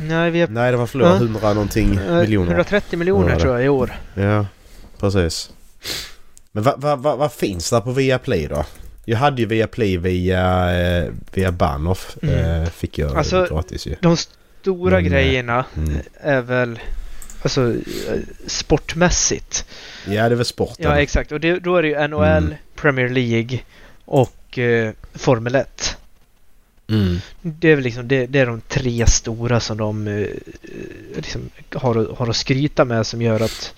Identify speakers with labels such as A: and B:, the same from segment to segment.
A: Nej, vi är
B: Nej, det var förlåt.
A: Ja.
B: 100 någonting
A: eh,
B: miljoner.
A: 130 miljoner
B: Ja, det.
A: tror jag i år.
B: Ja, precis. Men vad va, va, vad finns där på Viaplay då? Jag hade ju Viaplay via, eh, via Bahnhof.
A: Mm.
B: Eh, fick jag
A: Alltså-
B: gratis ju.
A: De stora
B: Men, eh,
A: grejerna
B: Mm.
A: är väl alltså eh, sportmässigt.
B: Ja, det var sporten.
A: Ja, exakt. Och det, då är det ju NHL,
B: Mm.
A: Premier League och eh, Formel 1.
B: mm.
A: Det är väl liksom det, det är de tre stora som de eh, liksom har, att- har att skryta med som gör att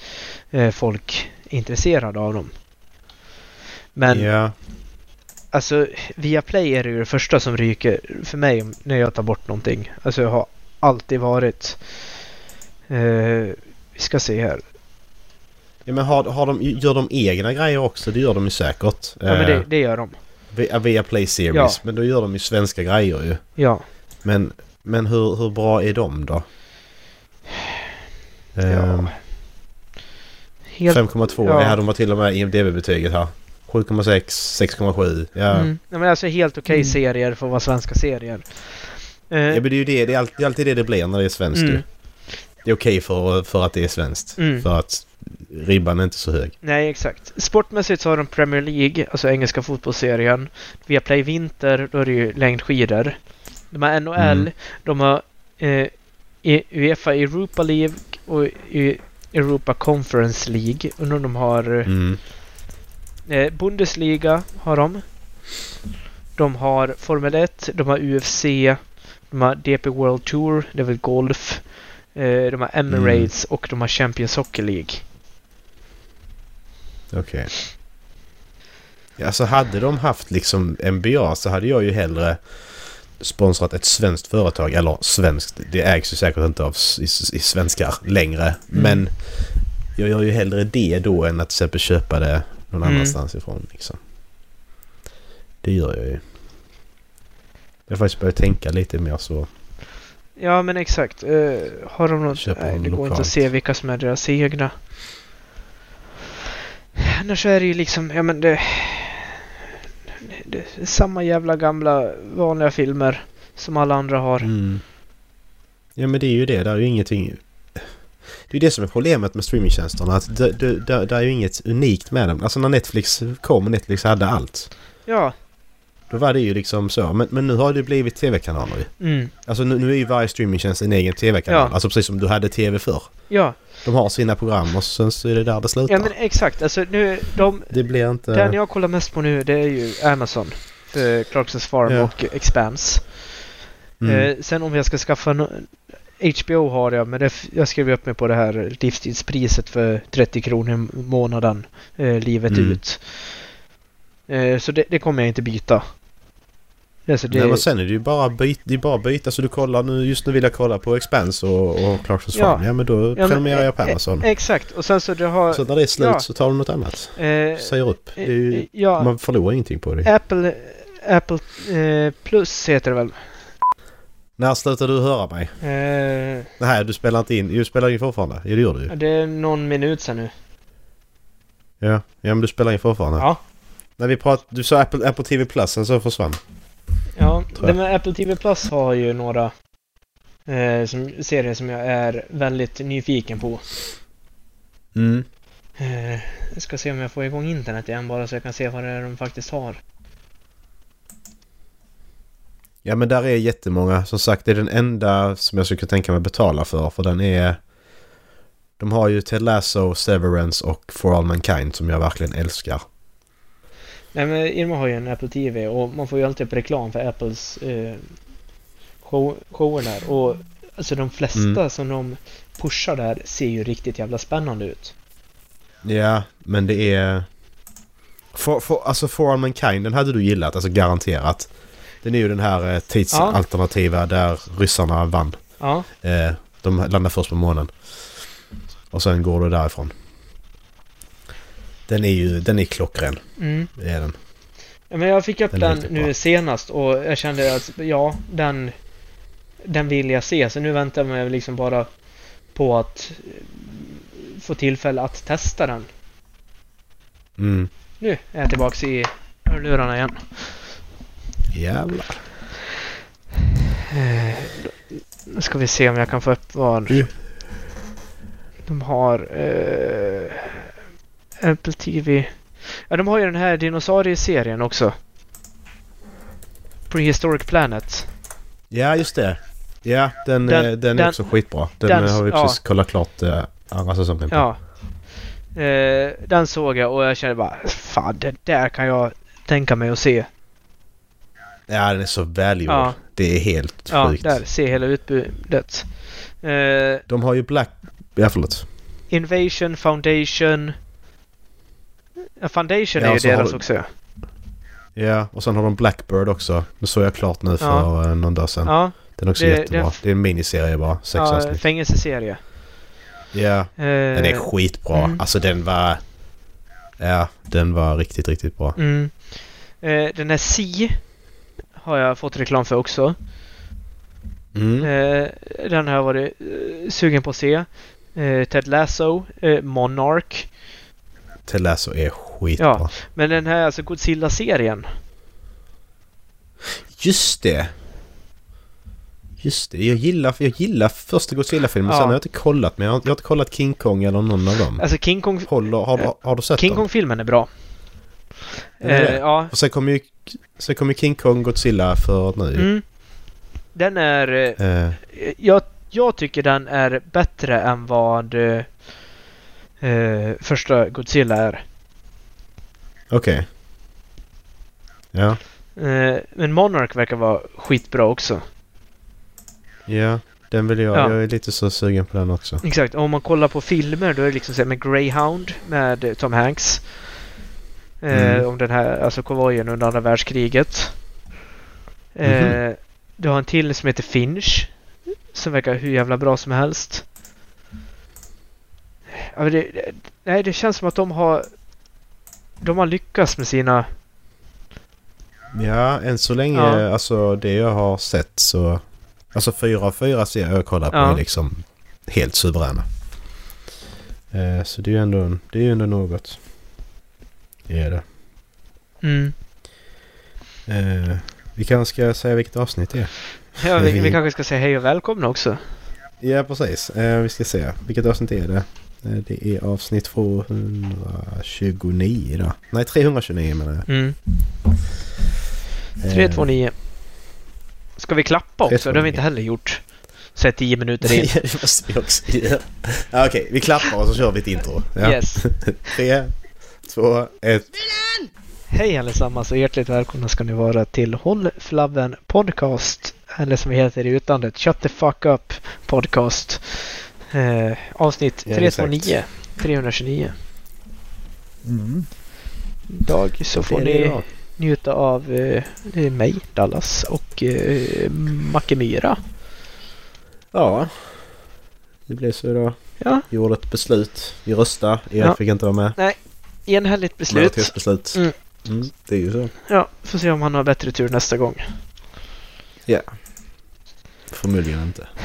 A: eh, folk är intresserade av dem. Men
B: ja.
A: alltså Viaplay är det ju det första som ryker för mig om- när jag tar bort någonting. Alltså jag har alltid varit... Eh, vi ska se här.
B: ja, men har, har de, gör de egna grejer också? Det gör de ju säkert. Eh,
A: Ja men det, det gör de.
B: Via, via Play Series.
A: Ja.
B: Men då gör de ju svenska grejer ju.
A: Ja.
B: Men, men hur, hur bra är de då? Ehm,
A: ja. Helt...
B: 5,2. Ja.
A: ja.
B: de var till och med IMDB-betyget här. 7,6, 6,7. Ja.
A: Mm. Ja, men alltså helt okej
C: Mm.
A: serier för att vara svenska serier. Eh,
B: ja, men det är ju det. Det är, all, det är alltid det det blir när det är svenskt
A: Mm.
B: ju. Det är okej för, för att det är svenskt.
A: Mm.
B: För att ribban är inte så hög.
A: Nej, exakt. Sportmässigt så har de Premier League, alltså engelska fotbollsserien. Viaplay Vinter, då är det ju längdskidor. De har NHL,
B: Mm.
A: de har eh, E- Uefa Europa League och E- Europa Conference League. Undrar om de har...
B: Mm.
A: Eh, Bundesliga har de. De har Formel 1, de har UFC, de har DP World Tour, det är väl golf. Eh, de har Emirates och de har Champions Hockey League.
B: Okej. Ja, så hade de haft liksom NBA så hade jag ju hellre sponsrat ett svenskt företag. Eller svenskt, det ägs ju säkert inte av s- i, s- i svenskar längre. Men jag gör ju hellre det då än att till exempel köpa det någon
A: Mm.
B: annanstans ifrån. Liksom. Det gör jag ju. Jag har faktiskt börjat tänka lite mer så.
A: Ja, men exakt. Eh, har de något?
B: Köper
A: Nej,
B: de
A: det går inte att
B: lokalt.
A: se vilka som är deras egna. Annars är det ju liksom, ja men det... det är samma jävla gamla vanliga filmer som alla andra har.
B: Mm. Ja men det är ju det. Det är ju ingenting... Det är ju det som är problemet med streamingtjänsterna. Att det, det, det, det är ju inget unikt med dem. Alltså när Netflix kom och Netflix hade allt.
A: Ja.
B: Då var det ju liksom så. Men, men nu har det ju blivit tv-kanaler ju.
A: Mm.
B: Alltså nu, nu är ju varje streamingtjänst en egen tv-kanal.
A: Ja.
B: Alltså precis som du hade tv förr.
A: Ja.
B: De har sina program och sen så är det där det slutar.
A: ja, men exakt. Alltså nu, de...
B: Det blir inte...
A: Den jag kollar mest på nu, det är ju Amazon. Eh, Clarksons Farm
B: Ja.
A: och Expanse.
B: Mm.
A: Eh, sen om jag ska skaffa no- HBO har jag, men det f- jag skrev upp mig på det här livstidspriset för 30 kronor i månaden eh, livet
B: Mm.
A: ut. Eh, så det, det kommer jag inte byta. Alltså det,
B: Nej men sen är det ju bara byt, det är bara byta. Alltså du kollar nu, just nu vill jag kolla på Expanse och, och Clarksons
A: Ja.
B: Farm. Ja. men då
A: men-
B: prenumererar jag på
A: eh,
B: Amazon.
A: Exakt, och sen så det har...
B: Så när det är slut
A: ja.
B: så tar du något annat.
A: eh,
B: Säger upp. Det är ju,
A: ja,
B: man förlorar ingenting på det.
A: Apple, Apple eh, Plus heter det väl?
B: När slutar du höra mig?
A: Eh,
B: Nej, du spelar inte in. Jo, Du spelar in fortfarande. Ja, det gör du ju.
A: det är någon minut sen nu.
B: Ja, ja men du spelar in fortfarande.
A: Ja.
B: När vi prat, du sa Apple, Apple TV Plus, sen så försvann.
A: Ja,
B: Tror
A: det
B: jag.
A: med Apple TV Plus har ju några eh, som, serier som jag är väldigt nyfiken på.
B: Mm.
A: Eh, jag ska se om jag får igång internet igen bara så jag kan se vad det är de faktiskt har.
B: Ja, men där är jättemånga. Som sagt, det är den enda som jag skulle kunna tänka mig betala för. För den är... De har ju Ted Lasso, Severance och For All Mankind som jag verkligen älskar.
A: Nej men Irma har ju en Apple TV och man får ju alltid upp reklam för Apples eh, show, shower där. Och alltså de flesta
B: Mm.
A: som de pushar där ser ju riktigt jävla spännande ut.
B: Ja, men det är... For, for, alltså For All Mankind, den hade du gillat, alltså garanterat. Den är ju den här eh, tidsalternativa där ryssarna vann.
A: Ja,
B: Eh, de landar först på månen. Och sen går du därifrån. Den är ju den är klockren.
A: mm.
B: Det är den.
A: Ja, men jag fick upp
B: Den
A: den,
B: är riktigt
A: nu
B: bra.
A: senast och jag kände att ja, den, den vill jag se. Så nu väntar jag mig liksom bara på att eh, få tillfälle att testa den.
B: Mm.
A: Nu är jag tillbaks i hörlurarna igen.
B: Jävlar.
A: Nu Eh, ska vi se om jag kan få upp vad
B: Du-
A: de har. Eh, Apple TV. Ja, de har ju den här dinosaurieserien också. Prehistoric Planet.
B: Ja, just det. Ja, den,
A: Den-
B: eh, den är
A: den-
B: också skitbra. Den,
A: den-
B: eh, har vi
A: ja.
B: precis kollat klart eh, andra säsongen på.
A: Ja. Eh, den såg jag och jag kände bara fan det där kan jag tänka mig att se.
B: Ja, den är så välgjord.
A: Ja.
B: Det är helt
A: Ja,
B: sjukt.
A: där. Se hela utbudet. Eh,
B: De har ju Black... Ja, förlåt.
A: Invasion, Foundation. Ja, Foundation
B: Ja,
A: är ju
B: så har
A: deras
B: du-
A: också. ja.
B: Ja, och sen har de Blackbird också. Nu såg jag klart nu för
A: Ja.
B: ja. någon dag sedan.
A: Ja,
B: Den är också
A: Det-
B: jättebra.
A: den-
B: Det är en miniserie bara. Sex
A: ja
B: avsnitt.
A: fängelseserie. Eh,
B: Ja, den är skitbra.
A: mm.
B: Alltså den var... Ja, den var riktigt, riktigt bra.
A: Mm. Eh, den här Si har jag fått reklam för också.
B: Mm.
A: Eh, den har jag varit eh, sugen på att se. Eh, Ted Lasso, eh, Monarch.
B: Ted Lasso är skitbra.
A: Ja. Men den här alltså Godzilla-serien.
B: Just det! Just det, jag gillar, jag gillar första Godzilla-filmen.
A: Ja.
B: Sen har jag inte kollat, men jag har, jag har inte kollat King Kong eller någon av dem.
A: Alltså King Kong...
B: Håller, har, har, har du sett
A: King
B: dem?
A: Kong-filmen är bra.
B: Den är
A: Eh,
B: det?
A: ja.
B: Och sen kommer ju, sen kommer King Kong Godzilla för nu.
A: Mm. Den är... eh,
B: Eh,
A: jag, jag tycker den är bättre än vad eh, eh, första Godzilla är.
B: Okej. Ja.
A: Eh, men Monarch verkar vara skitbra också.
B: Ja. Den vill jag.
A: Ja.
B: Jag är lite så sugen på den också.
A: Exakt, och om man kollar på filmer då är det liksom så här med Greyhound med eh, Tom Hanks. Eh,
B: Mm.
A: Om den här, alltså konvojen under andra världskriget. Eh,
B: Mhm.
A: Du har en till som heter Finch. Som verkar hur jävla bra som helst. Ja, men det, det- nej, det känns som att de har... De har lyckats med sina...
B: Ja, än så länge,
A: Ja.
B: alltså det jag har sett så... Alltså fyra av fyra serier jag kollar på
A: Ja.
B: är liksom helt suveräna. Eh, så det är ju ändå, en- det är ju ändå något. Det är det.
A: Mm.
B: Eh, vi kanske ska säga vilket avsnitt det är.
A: Ja, vi, vi
B: Vi-
A: kanske ska säga hej och välkomna också.
B: Ja, precis. Eh, vi ska se. Vilket avsnitt är det? Eh, det är avsnitt 229 då. Nej, 329 menar jag.
A: Mm.
B: Eh,
A: 329. Ska vi klappa också? Det har
B: 329.
A: vi inte heller gjort. Säg 10 minuter in.
B: Ja, det måste vi också göra. Ja, Okej, vi klappar och så kör vi ett intro. Ja.
A: Yes.
B: Tre, två, ett.
A: Hej allesammans och hjärtligt välkomna ska ni vara till Håll Flabben Podcast. Eller som vi heter i utlandet, Shut the fuck up Podcast. Eh, avsnitt
B: Ja,
A: 329. 329.
B: Mm.
A: Idag så får
B: Det är det
A: ni
B: idag.
A: njuta av eh, det är mig, Dallas, och eh, Macke Myra.
B: Ja, det blev så idag.
A: Ja,
B: Vi gjorde ett beslut. Vi röstade. Er
A: Ja.
B: fick inte vara med.
A: enhälligt beslut.
B: beslut.
A: Mm.
B: Mm. det är ju så.
A: Ja, får se om han har bättre tur nästa gång.
B: Förmodligen inte.
A: Ja.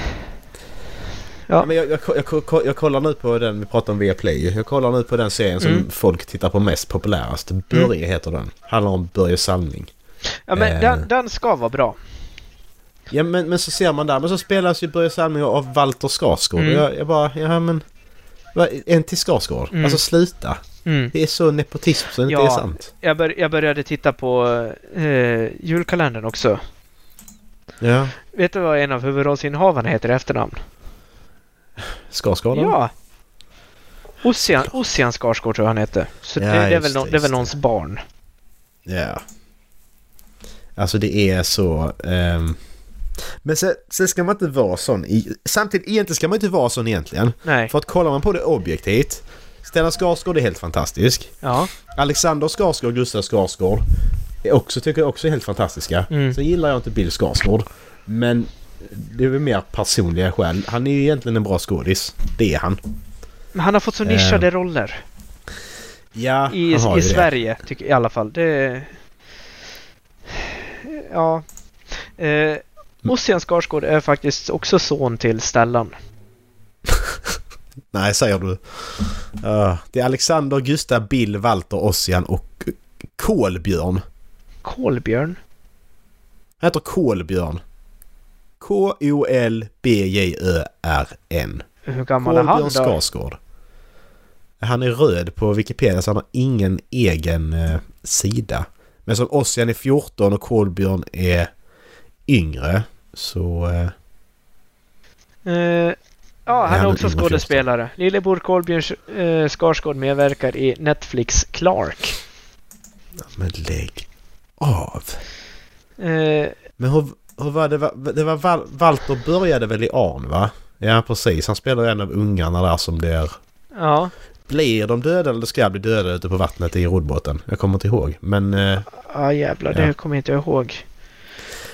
B: Ja. men jag, jag, jag, jag, jag kollar nu på den vi pratade om via Play. Jag kollar nu på den serien som
A: Mm.
B: folk tittar på mest populärast. Börje heter den. Handlar om Börje Salming.
A: Ja, men
B: Eh.
A: den, den ska vara bra.
B: Ja men, men så ser man där, men så spelas ju Börje Salming av Walter Skarsgård.
A: Mm.
B: Och jag, jag bara, ja men... va, En till Skarsgård?
A: Mm.
B: Alltså sluta! Det är så nepotism så det
A: Ja.
B: inte är sant.
A: Mm. Jag, bör, jag började titta på eh, julkalendern också.
B: Ja.
A: Vet du vad en av huvudrollsinnehavarna heter i efternamn?
B: Skarsgård? eller?
A: Ja! Ossian, Ossian Skarsgård tror jag han hette. Så
B: Ja,
A: det, det är
B: just
A: väl, nå-
B: det,
A: det är väl
B: just
A: någons barn.
B: Ja. Alltså det är så... ehm. Men sen, sen ska man inte vara sån. I, samtidigt, egentligen ska man inte vara sån egentligen.
A: Nej.
B: För att kollar man på det objektivt. Stellan Skarsgård är helt fantastisk.
A: Ja.
B: Alexander Skarsgård och Gustav Skarsgård är också, tycker jag också är helt fantastiska.
A: Mm.
B: Sen gillar jag inte Bill Skarsgård. Men det är väl mer personliga skäl. Han är ju egentligen en bra skådis. Det är han.
A: Men han har fått så
B: Eh,
A: nischade roller.
B: Ja,
A: I,
B: han har
A: i
B: ju det.
A: Sverige, tycker i alla fall. Det... Ja. Eh, Ossian Skarsgård är faktiskt också son till Stellan.
B: Nej, säger du. Ja, det är Alexander, Gustav, Bill, Walter, Ossian och Kolbjörn.
A: Kolbjörn?
B: Han heter Kolbjörn. K-O-L-B-J-Ö-R-N.
A: Hur gammal är han
B: Kolbjörn
A: då?
B: Skarsgård. Han är röd på Wikipedia så han har ingen egen eh, sida. Men som Ossian är 14 och Kolbjörn är yngre så... Eh,
A: Eh, ja, han
B: Han
A: är
B: är
A: också
B: yngre
A: skådespelare. Lillebror Kolbjörn eh, Skarsgård medverkar i Netflix Clark.
B: men lägg av.
A: Eh,
B: Men hur, hur var det? va- det var Val, Walter började väl i Arn va? Ja precis, han spelar en av ungarna där som blir...
A: ja,
B: Blir de döda eller ska bli döda ute på vattnet i roddbåten? Jag kommer inte ihåg. Men... Eh,
A: ah, jävlar, det
B: Ja.
A: kommer inte jag ihåg.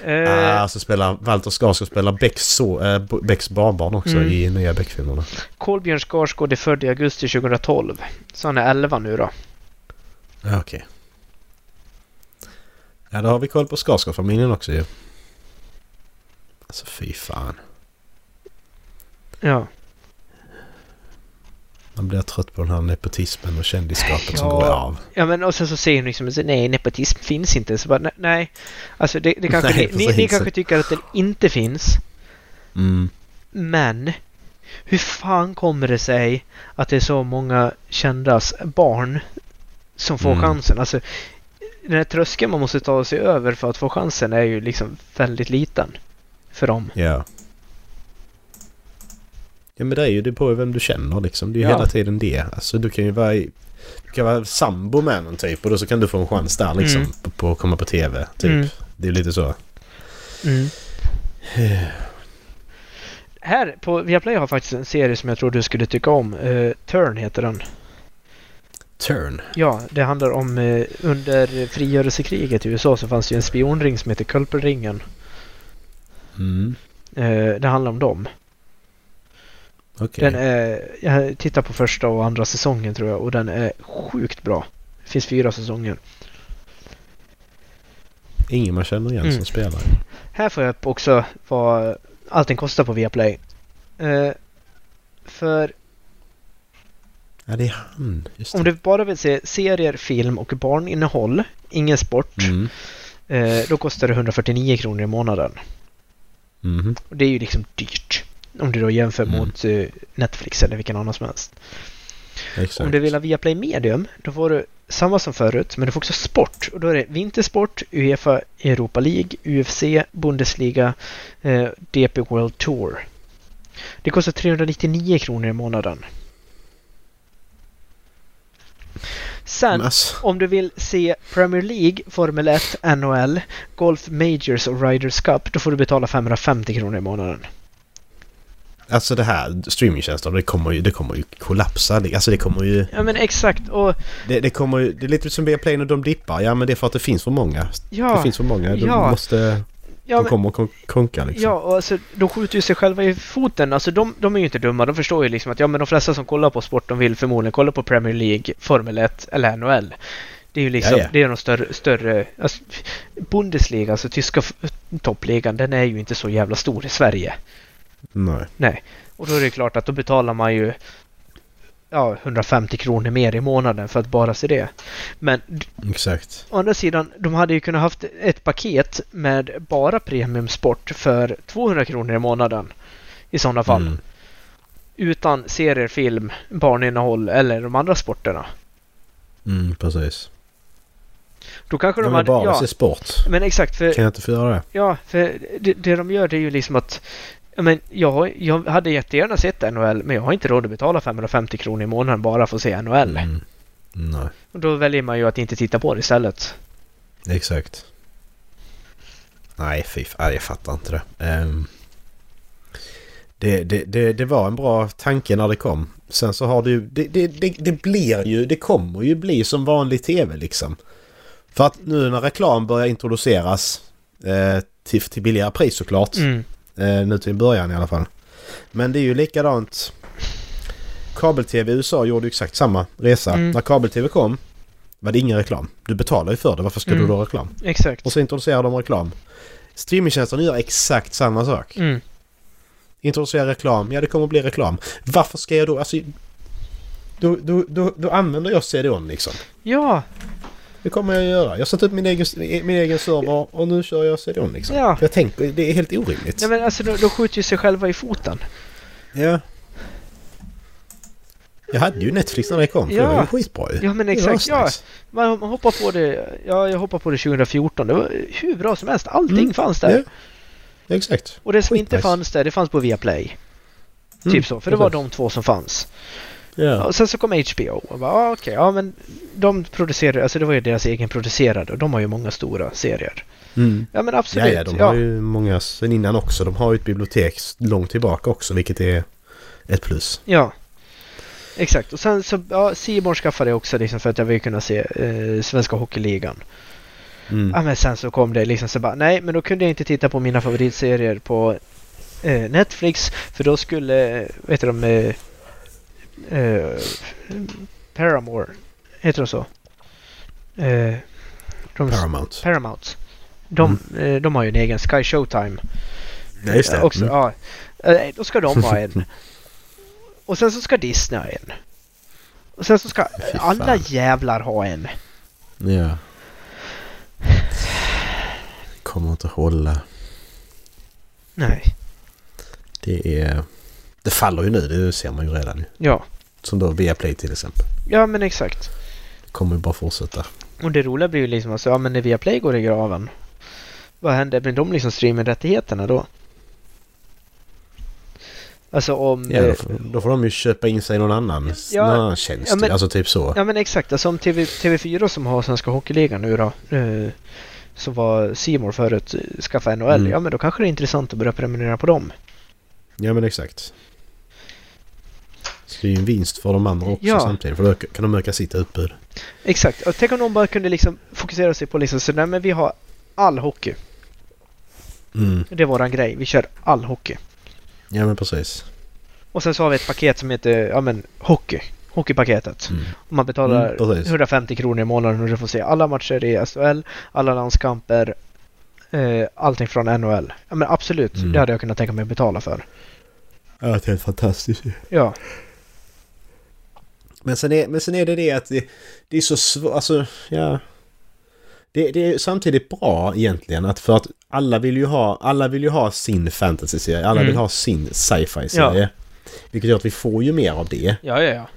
A: Eh,
B: Ah, så spelar Walter Skarsgård spelar Becks, så, eh, B- Becks barnbarn också
A: Mm.
B: i nya Beck-filmerna.
A: Kolbjörn Skarsgård är född i augusti 2012. Så han är 11 nu då.
B: Ja, okej. Ja, då har vi koll på Skarsgård-familjen också ju. Alltså fy fan.
A: Ja.
B: Man blir trött på den här nepotismen och kändisskapet som
A: Ja.
B: går av.
A: Ja men och sen så säger hon liksom så, nej nepotism finns inte. Så bara ne- nej. Alltså det, det kanske,
B: Nej,
A: ni, ni, ni
B: precis.
A: kanske tycker att den inte finns.
B: Mm.
A: Men. Hur fan kommer det sig att det är så många kändas barn som får
B: Mm.
A: chansen? Alltså den här tröskeln man måste ta sig över för att få chansen är ju liksom väldigt liten. För dem.
B: Ja. Ja men det är ju det på vem du känner liksom. Det är ju
A: Ja.
B: hela tiden det. Alltså du kan ju vara i... Du kan vara sambo med någon typ och då så kan du få en chans där liksom.
A: Mm.
B: På, på att komma på tv typ.
A: Mm.
B: Det är lite så.
A: Mm. Här på Viaplay har faktiskt en serie som jag tror du skulle tycka om. Eh, Turn heter den.
B: Turn.
A: Ja, det handlar om eh, under frigörelsekriget i USA så fanns det ju en spionring som heter Kulperringen.
B: Mm.
A: Eh, det handlar om dem.
B: Okej.
A: Den är, jag tittar på första och andra säsongen tror jag och den är sjukt bra. Det finns fyra säsonger.
B: Ingen man känner igen
A: Mm.
B: som spelar.
A: Här får jag upp också vad allting kostar på Viaplay. Eh, för
B: Ja det är han. Just
A: om
B: det.
A: du bara vill se serier, film och barninnehåll, ingen sport,
B: Mm.
A: eh, då kostar det 149 kronor i månaden.
B: Mhm.
A: Och det är ju liksom dyrt. Om du då jämför
B: Mm.
A: mot eh, Netflix eller vilken annan som helst.
B: Exakt.
A: Om du vill ha Viaplay Medium, då får du samma som förut, men du får också sport. Och då är det vintersport, Uefa Europa League, UFC, Bundesliga, eh, DP World Tour. Det kostar 399 kronor i månaden. Sen,
B: Men alltså,
A: om du vill se Premier League, Formel 1, NHL, Golf Majors och Riders Cup, då får du betala 550 kronor i månaden.
B: alltså det här streamingtjänster det kommer ju, det kommer ju kollapsa. Det- Alltså det kommer ju...
A: Ja men exakt och
B: Det, det kommer ju... Det är lite som Viaplay när de dippar. Ja men det är för att det finns för många.
A: ja,
B: Det finns för många. De
A: Ja.
B: måste...
A: ja,
B: de
A: men,
B: kommer att kon- konka liksom.
A: ja och alltså, de skjuter ju sig själva i foten. Alltså de, de är ju inte dumma. De förstår ju liksom att ja men de flesta som kollar på sport de vill förmodligen kolla på Premier League, Formel 1 eller NHL. Det är ju liksom,
B: Ja, ja.
A: det är de större, större alltså, Bundesliga, alltså tyska f- toppligan, den är ju inte så jävla stor i Sverige.
B: Nej.
A: Och då är det klart att då betalar man ju ja, 150 kronor mer i månaden för att bara se det. Men
B: Exakt.
A: Å andra sidan, de hade ju kunnat haft ett paket med bara premiumsport för 200 kronor i månaden. I sådana fall.
B: Mm.
A: Utan serier, film, barninnehåll eller de andra sporterna.
B: Mm, precis.
A: Då kanske
B: De
A: de
B: vill
A: hade...
B: bara
A: Ja,
B: se sport.
A: men exakt. För,
B: Kan jag inte få göra det?
A: ja, för det, det de gör det är ju liksom att... ja, Men jag, har- jag hade jättegärna sett NHL men jag har inte råd att betala 550 kronor i månaden bara för att se NHL.
B: Mm. Nej.
A: Och då väljer man ju att inte titta på det istället.
B: Exakt. Nej, fy fan, nej, jag fattar inte det. Ehm, det, det, det. Det var en bra tanke när det kom. Sen så har det ju... Det, det, det, det blir ju... Det kommer ju bli som vanlig tv liksom. För att nu när reklam börjar introduceras eh, till, till billigare pris såklart.
A: Mm.
B: Eh, nu till början i alla fall. Men det är ju likadant. Kabel-tv i USA gjorde ju exakt samma resa.
A: Mm.
B: När kabel-tv kom var det ingen reklam. Du betalar ju för det, varför ska
A: Mm.
B: du då ha reklam?
A: Exakt.
B: Och så introducerar de reklam. Streamingtjänsterna gör exakt samma sak.
A: Mm.
B: Introducerar reklam, ja det kommer att bli reklam. Varför ska jag då, alltså... Då, då, då, då använder jag CDON liksom.
A: Ja,
B: Det kommer jag göra. Jag satte upp min egen, min egen server och nu kör jag CDON liksom.
A: Ja.
B: Jag tänker, det är helt orimligt.
A: Nej men alltså de, de skjuter ju sig själva i foten.
B: Ja. Jag hade ju Netflix när det kom, för
A: Ja.
B: det var ju skitbra ju.
A: Ja, men
B: Det var
A: exakt, ja.
B: asnice.
A: Man, man hoppar på det, ja jag hoppar på det 2014. Det var hur bra som helst. Allting
B: Mm.
A: fanns där.
B: Ja. Ja, Exakt.
A: Och det som inte
B: Skitnice.
A: fanns där, det fanns på Viaplay.
B: Mm,
A: Typ så, för det var
B: precis.
A: de två som fanns.
B: Mm. Ja.
A: Och sen så kom HBO och bara, ah, okej, ja men de producerade, alltså det var ju deras egen producerade och de har ju många stora serier.
B: Mm.
A: Ja men
B: Ja,
A: absolut.
B: ja, de har ju många sen innan också. De har ju ett bibliotek långt tillbaka också, vilket är ett plus.
A: Ja. Exakt. Och sen så, ja, C More skaffade jag också liksom för att jag ville kunna se eh, Svenska Hockeyligan.
B: Mm.
A: Ja men sen så kom det liksom så bara, nej men då kunde jag inte titta på mina favoritserier på eh, Netflix för då skulle, eh, vad heter de, eh, eh, Paramore, heter de så? Eh, de,
B: Paramount. Mm.
A: Paramount. De, eh, de har ju en egen Sky Showtime.
B: Ja, just det.
A: Också,
B: Mm.
A: ja. Eh, Då ska de ha en. Och sen så ska Disney ha en. Och sen så ska
B: Fy fan.
A: alla jävlar ha en.
B: Mm. Ja. Kommer inte hålla.
A: Nej.
B: Det är... Det faller ju nu, det ser man ju redan.
A: Ja.
B: Som då Viaplay till exempel.
A: Ja men exakt.
B: Det kommer ju bara fortsätta.
A: Och det roliga blir ju liksom alltså, ja men när Viaplay går i graven. Vad händer med de liksom streamingrättigheterna då? Alltså om...
B: Ja, då,
A: eh,
B: får, då får de ju köpa in sig i någon annan,
A: Ja,
B: någon annan tjänst.
A: ja, men-
B: alltså typ så.
A: Ja men exakt, alltså om TV, TV4 som har Svenska Hockeyligan nu då, eh, som var Simor förut, eh, skaffa NHL,
B: Mm.
A: ja men då kanske det är intressant att börja prenumerera på dem.
B: Ja men exakt. Så det är ju en vinst för de andra också
A: Ja.
B: samtidigt. För då kan de öka sitt utbud.
A: Exakt, och tänk om de bara kunde liksom fokusera sig på liksom, så nej men vi har all hockey,
B: Mm.
A: det är våran grej, vi kör all hockey.
B: Ja men precis.
A: Och sen så har vi ett paket som heter, ja men hockey, hockeypaketet.
B: Mm.
A: Och man betalar
B: Mm, precis.
A: 150 kronor i månaden och du får se alla matcher i SHL, alla landskamper, eh, allting från NHL. Ja men absolut,
B: Mm.
A: det hade jag kunnat tänka mig att betala för.
B: Ja, det är helt fantastiskt
A: Ja.
B: Men sen är, men sen är det det att det, det är så svårt, alltså ja. Det, det är samtidigt bra egentligen att för att alla vill ju ha, alla vill ju ha sin fantasy-serie, alla
A: Mm.
B: vill ha sin sci-fi-serie. Vilket gör att vi får ju mer av det.
A: Ja, ja, ja.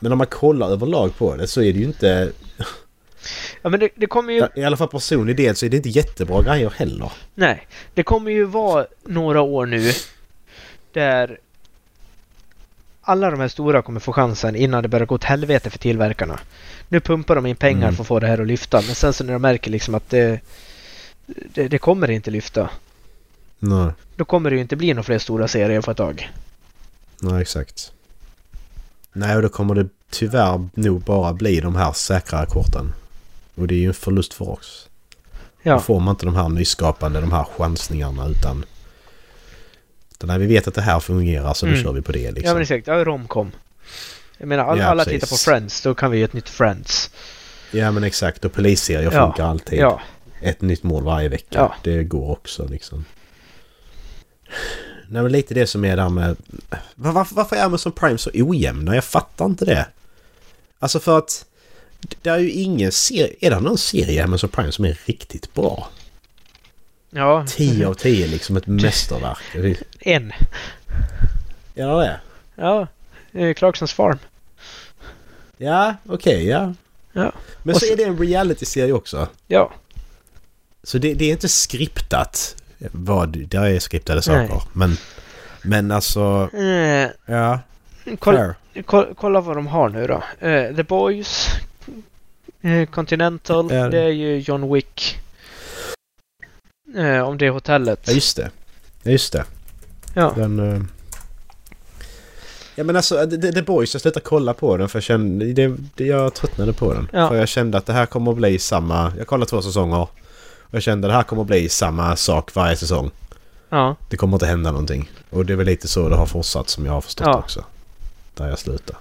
B: Men om man kollar överlag på det så är det ju inte,
A: Ja men det, det kommer ju...
B: i alla fall personlig del så är det inte jättebra grejer heller.
A: Nej. Det kommer ju vara några år nu där alla de här stora kommer få chansen innan det börjar gå åt helvete för tillverkarna. Nu pumpar de in pengar
B: Mm.
A: för att få det här att lyfta men sen så när de märker liksom att det, det, det kommer inte lyfta.
B: Nej,
A: Då kommer det ju inte bli några fler stora serier på ett tag.
B: nej exakt. Nej, och då kommer det tyvärr nog bara bli de här säkrare korten. Och det är ju en förlust för oss. Då
A: Ja,
B: får man inte de här nyskapande, de här chansningarna utan... utan När vi vet att det här fungerar så då
A: Mm.
B: kör vi på det liksom.
A: ja men exakt. Ja, romcom. Jag menar all,
B: Ja,
A: alla
B: precis.
A: tittar på Friends, då kan vi ju ett nytt Friends.
B: exakt. Och polisserier
A: Ja.
B: funkar alltid.
A: Ja,
B: Ett nytt mål varje vecka.
A: Ja.
B: Det går också liksom. Nej men lite det som är där med... Var- Varför, varför är Amazon Prime så ojämna? Jag fattar inte det. Alltså för att... Det är ju ingen serie... Är det någon serie i Amazon Prime som är riktigt bra?
A: ja.
B: 10 av 10 liksom ett mästerverk. Det-
A: En.
B: Är det det?
A: Ja. eh, Clarksons Farm.
B: Ja, okej, ja.
A: Ja.
B: Men
A: Och
B: så
A: så-
B: är det en reality-serie också.
A: Ja.
B: Så det, det är inte skriptat. Vad, där är skriptade saker.
A: Nej.
B: Men, men alltså...
A: Eh,
B: Ja,
A: kolla-
B: fair.
A: Ko- kolla vad de har nu då. Eh, The Boys, eh, Continental,
B: Ja.
A: det är ju John Wick. Eh, om det hotellet.
B: Ja, just det. Ja, just det.
A: Ja.
B: Den... eh, Ja men alltså The, The The Boys, jag slutade kolla på den för jag kände... Det, det, jag tröttnade på den.
A: Ja.
B: För jag kände att det här kommer att bli samma... Jag kollade två säsonger. Och jag kände att det här kommer att bli samma sak varje säsong.
A: ja.
B: Det kommer inte hända någonting. Och det är väl lite så det har fortsatt som jag har förstått
A: Ja.
B: också. Där jag slutar.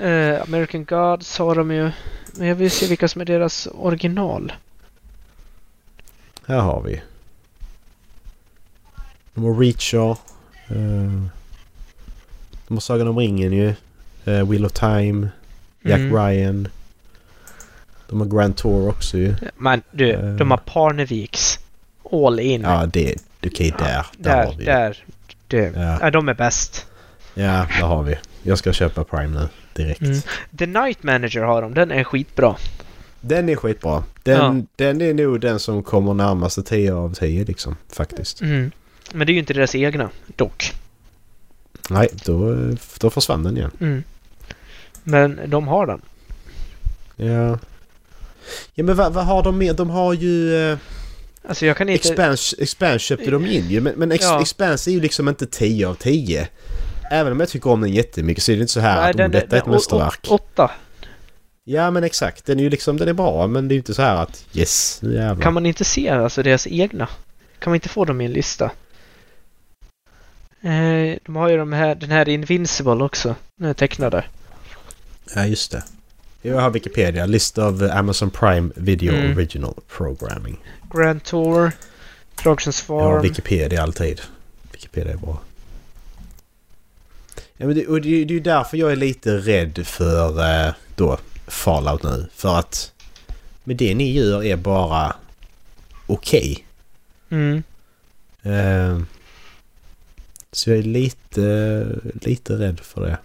A: Eh, American Gods har de ju. Men jag vill se vilka som är deras original.
B: Här har vi. De har Reacher. eh, de har eh, Sagan om ringen ju. Uh, Wheel of Time. Jack
A: Mm.
B: Ryan. De har Grand Tour också ju.
A: Men du,
B: Eh.
A: de har Parneviks. All in.
B: Ja, det... Okej, där. Där, har
A: där,
B: vi ju.
A: där. Du.
B: Ja.
A: Ja, de är bäst.
B: ja, där har vi. Jag ska köpa Prime nu. Direkt.
A: Mm. The Night Manager har de, den är skitbra.
B: Den är skitbra. Den, den är nog den som kommer närmast 10 av 10 liksom. Faktiskt.
A: Mm. Men det är ju inte deras egna, dock.
B: Nej, då, då försvann den igen.
A: Mm. Men de har den.
B: Ja. Ja men vad, vad har de mer? De har ju... Eh,
A: Alltså jag kan inte...
B: Expanse, Expanse köpte de in ju. Men, men ex,
A: Ja.
B: Expanse är ju liksom inte 10 av 10. Även om jag tycker om den jättemycket så är det inte så här
A: Nej,
B: att den, detta är ett
A: den-
B: mästerverk.
A: å- å- Åtta.
B: Ja men exakt. Den är ju liksom, den är bra men det är ju inte så här att yes, nu jävlar.
A: Kan man inte se alltså deras egna? Kan man inte få dem i en lista? Eh, de har ju de här, den här Invincible också. Den är tecknade.
B: Ja just det. Jag har Wikipedia. List of Amazon Prime Video
A: Mm.
B: Original Programming.
A: Grand Tour, Trojans
B: Jag har
A: Farm.
B: Wikipedia alltid. Wikipedia är bra. Ja, men det, och det, är ju- det är ju därför jag är lite rädd för eh, då Fallout nu. För att men det ni gör är bara okej.
A: Mm.
B: Eh, så jag är lite, lite rädd för det.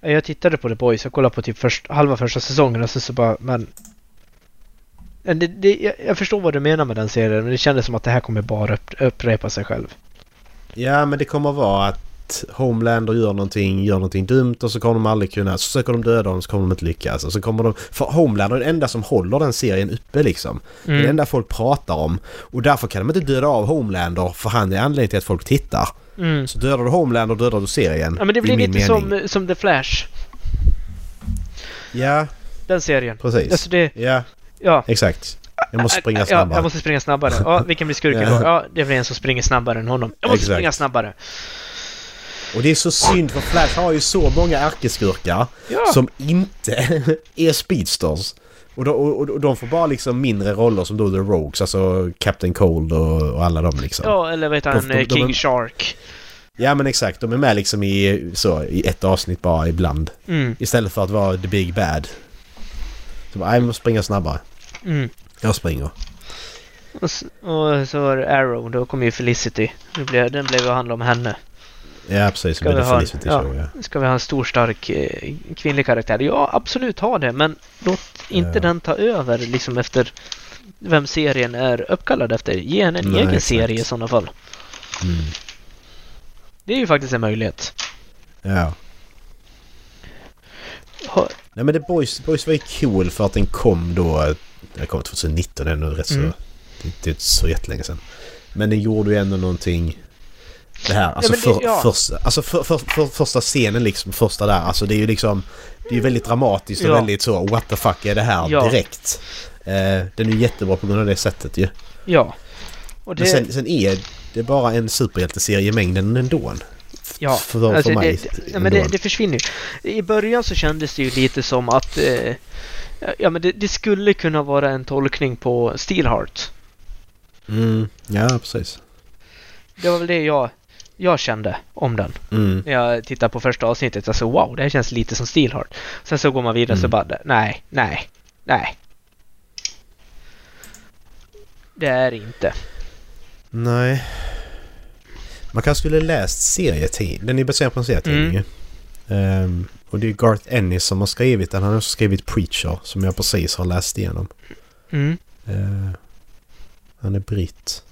A: Ja, Jag tittade på The Boys, jag kollade på typ först, halva första säsongen och sen så bara, men... men Det, det, jag, jag förstår vad du menar med den serien, men det kändes som att det här kommer bara upp, upprepa sig själv.
B: Ja men det kommer vara att Homelander gör någonting, gör någonting dumt och så kommer de aldrig kunna... Så försöker de döda honom så kommer de inte lyckas. Och så kommer de... För Homelander är den enda som håller den serien uppe liksom. Det är det
A: Mm.
B: enda folk pratar om. Och därför kan de inte döda av Homelander för han är anledningen till att folk tittar.
A: Mm.
B: Så dödar du Homelander dödar du serien.
A: Ja men det
B: i
A: blir
B: min
A: lite
B: mening.
A: som, som The Flash,
B: Ja,
A: den serien.
B: precis.
A: Alltså det,
B: Ja,
A: ja.
B: exakt. Jag måste springa
A: Ja,
B: snabbare.
A: jag måste springa snabbare. Ja, vilken blir skurken
B: Ja.
A: då? Ja, det blir en som springer snabbare än honom. Jag måste
B: Exakt.
A: springa snabbare.
B: Och det är så synd för Flash har ju så många ärkeskurkar
A: Ja.
B: som inte är speedsters. Och de, och, och de får bara liksom mindre roller som då The Rogues, alltså Captain Cold och, och alla de liksom. Ja.
A: Ja, eller vet han,
B: De- de-
A: eh,
B: de-
A: King Shark.
B: men exakt, de är med liksom i, så, i ett avsnitt bara ibland.
A: Mm,
B: Istället för att vara the big bad. Så bara, "Nej, jag måste springa snabbare.
A: mm.
B: Jag springer.
A: Och s- Och så var det Arrow, då kom ju Felicity. Nu blev, den blev ju handla om henne.
B: Ja precis,
A: Ska
B: men
A: vi
B: det
A: ha en-
B: finns inte
A: ja.
B: show, ja.
A: Ska vi ha en stor stark eh, kvinnlig karaktär? Ja, absolut ha det, men låt inte
B: Ja.
A: den ta över liksom efter vem serien är uppkallad efter. Ge henne en
B: Nej,
A: egen
B: exakt.
A: serie i sådana fall.
B: Mm.
A: Det är ju faktiskt en möjlighet.
B: ja.
A: Ha,
B: Nej men The Boys, The Boys var ju cool för att den kom då... Den kom 2019, det är nu rätt
A: Mm.
B: så... Det, det är inte så jättelänge sedan. Men den gjorde ju ändå någonting... Det här, alltså,
A: men det-
B: för,
A: ja.
B: första- alltså för, för, för, första scenen liksom, första där, alltså det är ju liksom... Det är ju väldigt dramatiskt och
A: Ja.
B: väldigt så, what the fuck är det här
A: Ja.
B: direkt? Eh, den är ju jättebra på grund av det sättet ju.
A: ja. Och det,
B: Men sen, sen är det bara en superhjälteserie i mängden ändå.
A: Ja,
B: För- för
A: alltså
B: mig
A: det, det, ja, men det,
B: ändå.
A: det försvinner ju. I början så kändes det ju lite som att eh, ja, men det, det skulle kunna vara en tolkning på Steelheart.
B: Mm, ja, precis.
A: Det var väl det jag, jag kände om den.
B: Mm.
A: När jag tittade på första avsnittet, alltså wow, det här känns lite som Steelheart. Sen så går man vidare så
B: Mm.
A: bara, nej, nej, nej. Det är det inte.
B: Nej. Man kanske skulle läst serietidningen. Den är baserad på en serietidning ju. Ehm, Och det är Garth Ennis som har skrivit den. Han har också skrivit Preacher som jag precis har läst igenom.
A: Mm.
B: Eh, han är britt.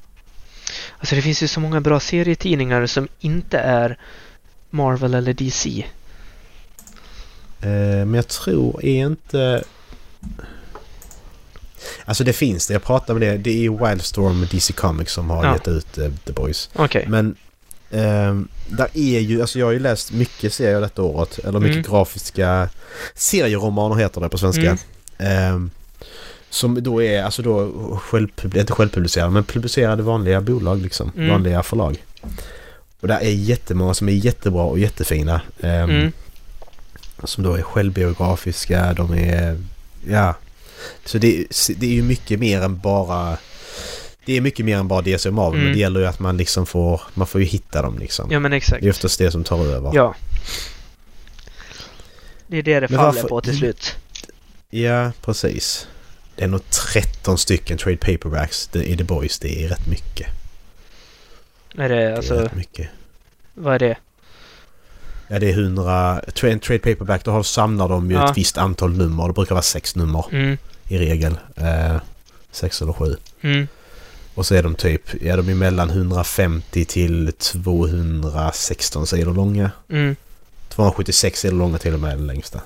A: Alltså det finns ju så många bra serietidningar som inte är Marvel eller DC.
B: Eh, men jag tror är inte... Alltså det finns det. Jag pratade med det. Det är ju Wildstorm och DC Comics som har
A: Ja.
B: gett ut eh, The Boys.
A: Okej.
B: Men ehm, där är ju, alltså jag har ju läst mycket serier detta året. Eller mycket
A: Mm.
B: grafiska serieromaner heter det på svenska. Ehm, som då är, alltså då självpub- inte självpublicerade men publicerade vanliga bolag liksom.
A: Mm.
B: Vanliga förlag. Och där är jättemånga som är jättebra och jättefina. ehm,
A: Mm.
B: Som då är självbiografiska, de är... Ja. Så det, det är ju mycket mer än bara... Det är mycket mer än bara DC och Marvel,
A: Mm.
B: men det gäller ju att man liksom får... Man får ju hitta dem liksom.
A: Ja men exakt.
B: Det är oftast det som tar över.
A: Ja. Det är det det
B: Men
A: faller
B: varför-
A: på till slut.
B: Ja, precis. Det är nog 13 stycken trade paperbacks det- i The Boys. Det är rätt mycket.
A: Är det,
B: Det
A: alltså,
B: är rätt mycket.
A: vad är det?
B: Ja, det är 100... tra- En trade paperback, då har- samlar de ju
A: Ja.
B: ett visst antal nummer. Det brukar vara sex nummer
A: Mm,
B: i regel. Eh, sex eller sju.
A: mm,
B: Och så är de typ... Ja, de är mellan 150 till 216 sidor långa.
A: mm.
B: 276 sidor långa till och med den längsta.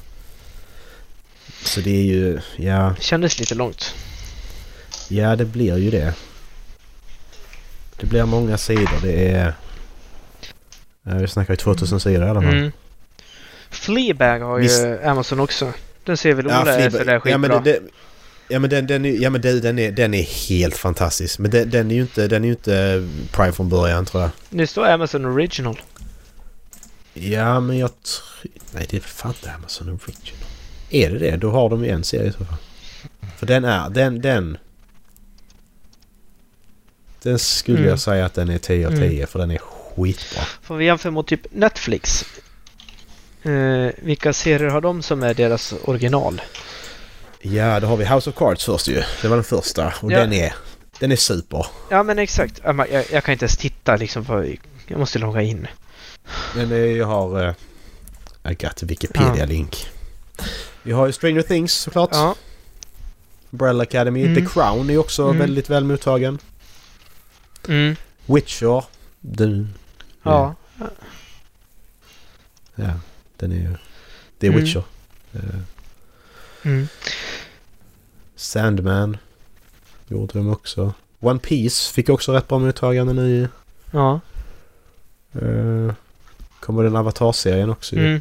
B: Så det är ju... Ja,
A: Kändes lite långt.
B: ja det blir ju det. Det blir många sidor. Det är... Ja, vi snackar ju 2000 sidor i alla fall.
A: Mm. Fleabag har ju
B: Visst.
A: Amazon också. Den ser väl
B: Ja,
A: Ola är
B: Fleabag-
A: sådär skitbra.
B: ja, men det, det, ja men den, den, är, ja, men den, den, är, den är helt fantastisk. Men den, den är ju inte, den är ju inte Prime från början tror jag.
A: Nu står Amazon Original.
B: Ja men jag tror... Nej det är fan inte Amazon Original. Är det det? Då har de ju en serie i så fall. För den är... Den... Den, den skulle
A: Mm.
B: jag säga att den är 10 av 10
A: Mm.
B: för den är skitbra.
A: Får vi jämföra mot typ Netflix? Eh, vilka serier har de som är deras original?
B: Ja då har vi House of Cards först ju. Det var den första. Och
A: Ja.
B: den är... Den är super.
A: Ja men exakt. Ja, men Jag, jag kan inte ens titta liksom på... Jag måste logga in.
B: Men eh, jag har... eh, I got a Wikipedia-link. Vi har ju Stranger Things såklart.
A: Ja.
B: Umbrella Academy.
A: Mm.
B: The Crown är ju också
A: Mm.
B: väldigt väl mottagen.
A: Mm.
B: Witcher. Den,
A: Ja.
B: ja, den är ju... Det är
A: Mm.
B: Witcher. Eh,
A: Mm.
B: Sandman. Gjorde de också. One Piece fick också rätt bra mottagande nu.
A: Ja.
B: Uh, kommer den Avatar-serien också ju.
A: Mm.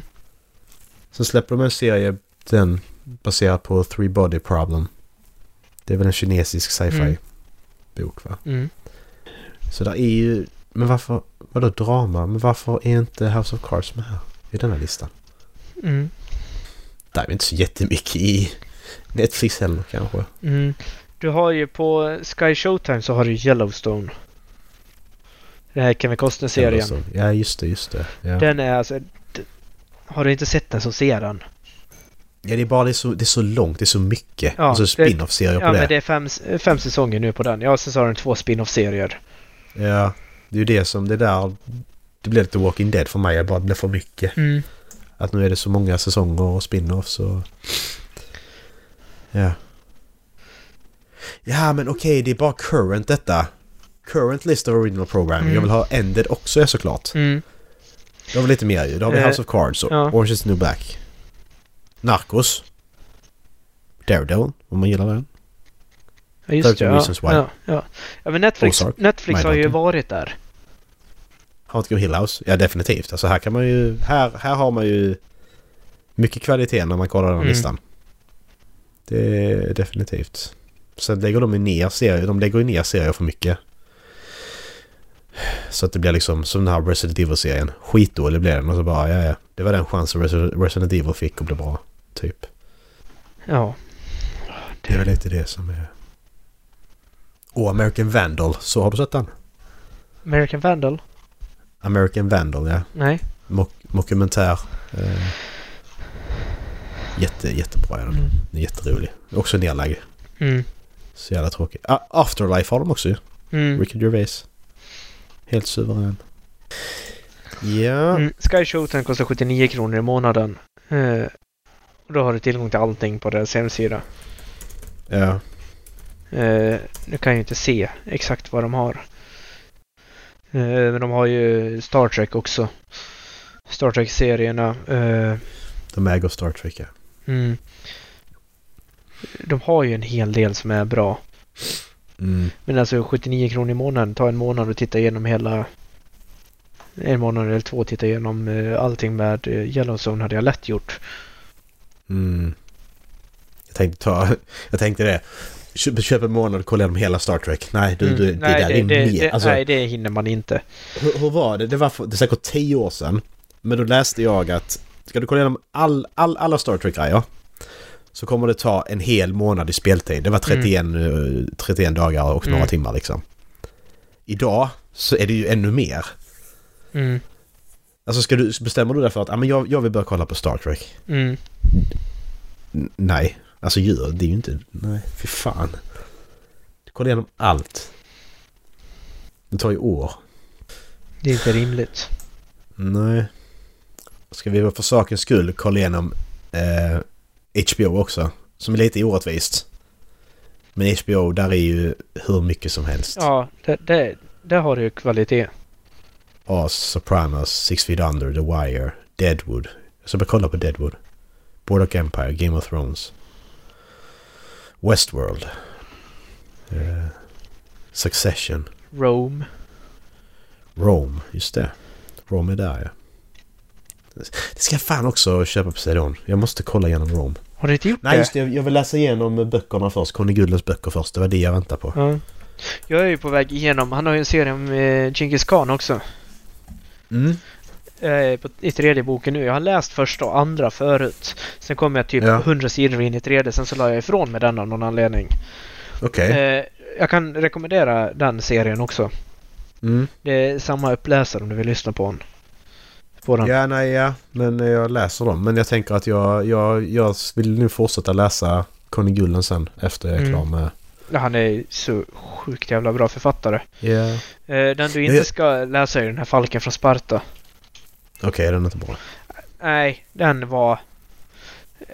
B: Sen släpper de en serie, den baserad på Three Body Problem. Det är väl en kinesisk
A: Mm.
B: sci-fi-bok va?
A: Mm.
B: Så där är ju... Men varför... Vadå drama? Men varför är inte House of Cards med här? I den här listan?
A: Mm.
B: Det är väl inte så jättemycket i Netflix heller kanske.
A: Mm. Du har ju på Sky Showtime så har du Yellowstone. Den här Kevin
B: Eller
A: Costner-serien.
B: så. Ja, just det, just det. Ja,
A: Den är alltså... d- Har du inte sett den så se den.
B: ja det är bara det är, så, det är så långt, det är så mycket.
A: Ja,
B: alltså
A: det-
B: spin-off-serier
A: Ja
B: på det.
A: men det är fem, s- fem säsonger nu på den. Ja sen så har den två spin-off-serier.
B: Ja, det är ju det som det där... Det blev lite Walking Dead för mig, jag bara det blev för mycket.
A: Mm.
B: Att nu är det så många säsonger och spin-offs och... Ja. Ja, men okej, det är bara current detta. Current list of original program.
A: Mm.
B: Jag vill ha ended också ja, såklart.
A: Mm.
B: Jag vill lite mer ju. Då har vi
A: Eh,
B: House of Cards och
A: ja.
B: Orange is the New Black. Narcos. Daredevil, om man gillar den.
A: Ja, just det.
B: 13
A: Ja,
B: Reasons Why.
A: ja, ja. ja men Netflix,
B: Ozark.
A: Netflix har ju
B: Mindhunter.
A: varit där.
B: Haunting of Hill House. Ja, definitivt. Alltså här kan man ju... Här, här har man ju mycket kvalitet när man kollar den här
A: Mm.
B: listan. Det är definitivt. Sen lägger de ju ner serier. De lägger ju ner serier för mycket. Så att det blir liksom som den här Resident Evil-serien. Skitdålig blev den och så bara ja, ja. Det var den chansen Resi- Resident Evil fick och blev bra. Typ.
A: Ja.
B: Det är väl lite det som är... Och American Vandal. Så har du sett den?
A: American Vandal?
B: American Vandal, ja.
A: Nej.
B: Mok- mockumentär. Eh, jätte, jättebra är den.
A: Mm.
B: Den är jätterolig. Också nedlagd.
A: Mm.
B: Så jävla tråkig. Ah, Afterlife har de också ju.
A: Mm.
B: Ricky Gervais. Helt suverän. Ja.
A: Mm. Sky Showtime kostar 79 kronor i månaden. Eh, och då har du tillgång till allting på deras hemsida.
B: ja.
A: Eh, nu kan jag ju inte se exakt vad de har. Eh, men de har ju Star Trek också. Star Trek-serierna. Eh,
B: De äger Star Trek ja.
A: mm. De har ju en hel del som är bra.
B: Mm.
A: Men alltså 79 kronor i månaden. Ta en månad och titta igenom hela... En månad eller två och titta igenom eh, allting med eh, Yellowstone hade jag lätt gjort.
B: Mm. Jag tänkte ta... Jag tänkte det. Köp, köp en månad och kolla igenom hela Star Trek. Nej, du, du, det
A: Mm. nej,
B: där är mer.
A: det,
B: alltså,
A: nej, det hinner man inte.
B: Hur, hur var det? Det var för, det är säkert tio år sedan. Men då läste jag att ska du kolla igenom all, all, alla Star Trek-grejer så kommer det ta en hel månad i speltid. Det var 31, eh, 31 dagar och några
A: Mm.
B: timmar liksom. Idag så är det ju ännu mer.
A: Mm.
B: Alltså ska du, bestämmer du dig för att ah, men jag, jag vill börja kolla på Star Trek?
A: Mm.
B: N- nej. Alltså djur, det är ju inte... Nej, fy fan. Du kollar igenom allt. Det tar ju år.
A: Det är inte rimligt.
B: Nej. Ska vi för sakens skull kolla igenom eh, HBO också? Som är lite orättvist. Men HBO, där är ju hur mycket som helst.
A: Ja, det, det, där har du ju kvalitet.
B: Oz, Sopranos, Six Feet Under, The Wire, Deadwood. Jag ska bara kolla på Deadwood. Boardwalk Empire, Game of Thrones. Westworld. Eh, Succession.
A: Rome.
B: Rome, just det. Rome är där ja. Det ska jag fan också köpa på CD-ON. Jag måste kolla igenom Rome.
A: Har du inte gjort
B: Nej
A: det?
B: just det, jag vill läsa igenom böckerna först. Conny Gullers böcker först. Det var det jag väntade på.
A: Ja. Jag är ju på väg igenom. Han har ju en serie om eh, Genghis Khan också.
B: Mm.
A: Jag är på, i tredje boken nu. Jag har läst första och andra förut. Sen kom jag typ
B: Ja.
A: 100 sidor in i tredje. Sen så la jag ifrån mig den av någon anledning.
B: Okej.
A: Eh, jag kan rekommendera den serien också.
B: Mm.
A: Det är samma uppläsare om du vill lyssna på den. På den.
B: Ja, nej, ja. Men eh, jag läser dem. Men jag tänker att jag, jag, jag vill nu fortsätta läsa Conny Gullen sen efter jag är
A: Mm.
B: klar med...
A: Han är så sjukt jävla bra författare.
B: Ja.
A: Eh, Den du
B: Jag-
A: inte ska läsa är den här Falken från Sparta.
B: Okej, den är inte bra.
A: Nej, den var...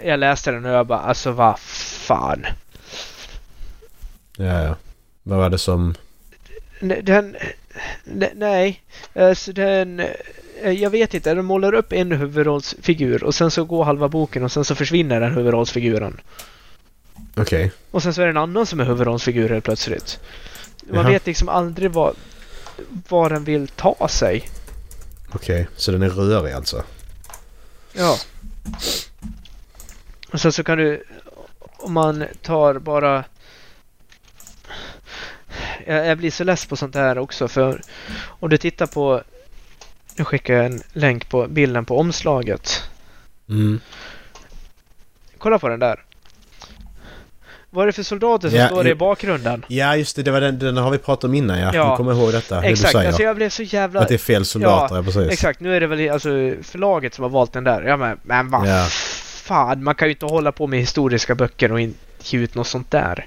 A: Jag läste den och jag bara alltså vad fan.
B: Ja, ja. Vad var det som...
A: N- Den... n- Nej. Alltså den... eh, Jag vet inte. De målar upp en huvudrollsfigur och sen så går halva boken och sen så försvinner den huvudrollsfiguren.
B: Okej.
A: Och sen så är det en annan som är huvudrollsfigur helt plötsligt. Man
B: Jaha.
A: vet liksom aldrig vad... Vad den vill ta sig.
B: Okej, så den är rörig alltså?
A: Ja. Och sen så kan du... Om man tar bara... Jag, jag blir så less på sånt här också för om du tittar på... Nu skickar jag en länk på bilden på omslaget.
B: Mm.
A: Kolla på den där. Vad är det för soldater som
B: Ja,
A: står i
B: ju-
A: bakgrunden?
B: Ja, just det. det var den, den har vi pratat om innan ja.
A: Ja.
B: Jag kommer ihåg detta. det du
A: Exakt,
B: säger.
A: alltså jag blev så jävla...
B: Att det är fel soldater, ja, precis.
A: Exakt, nu är det väl alltså förlaget som har valt den där. Ja men, men vad
B: Ja.
A: fan, man kan ju inte hålla på med historiska böcker och inte ge ut något sånt där.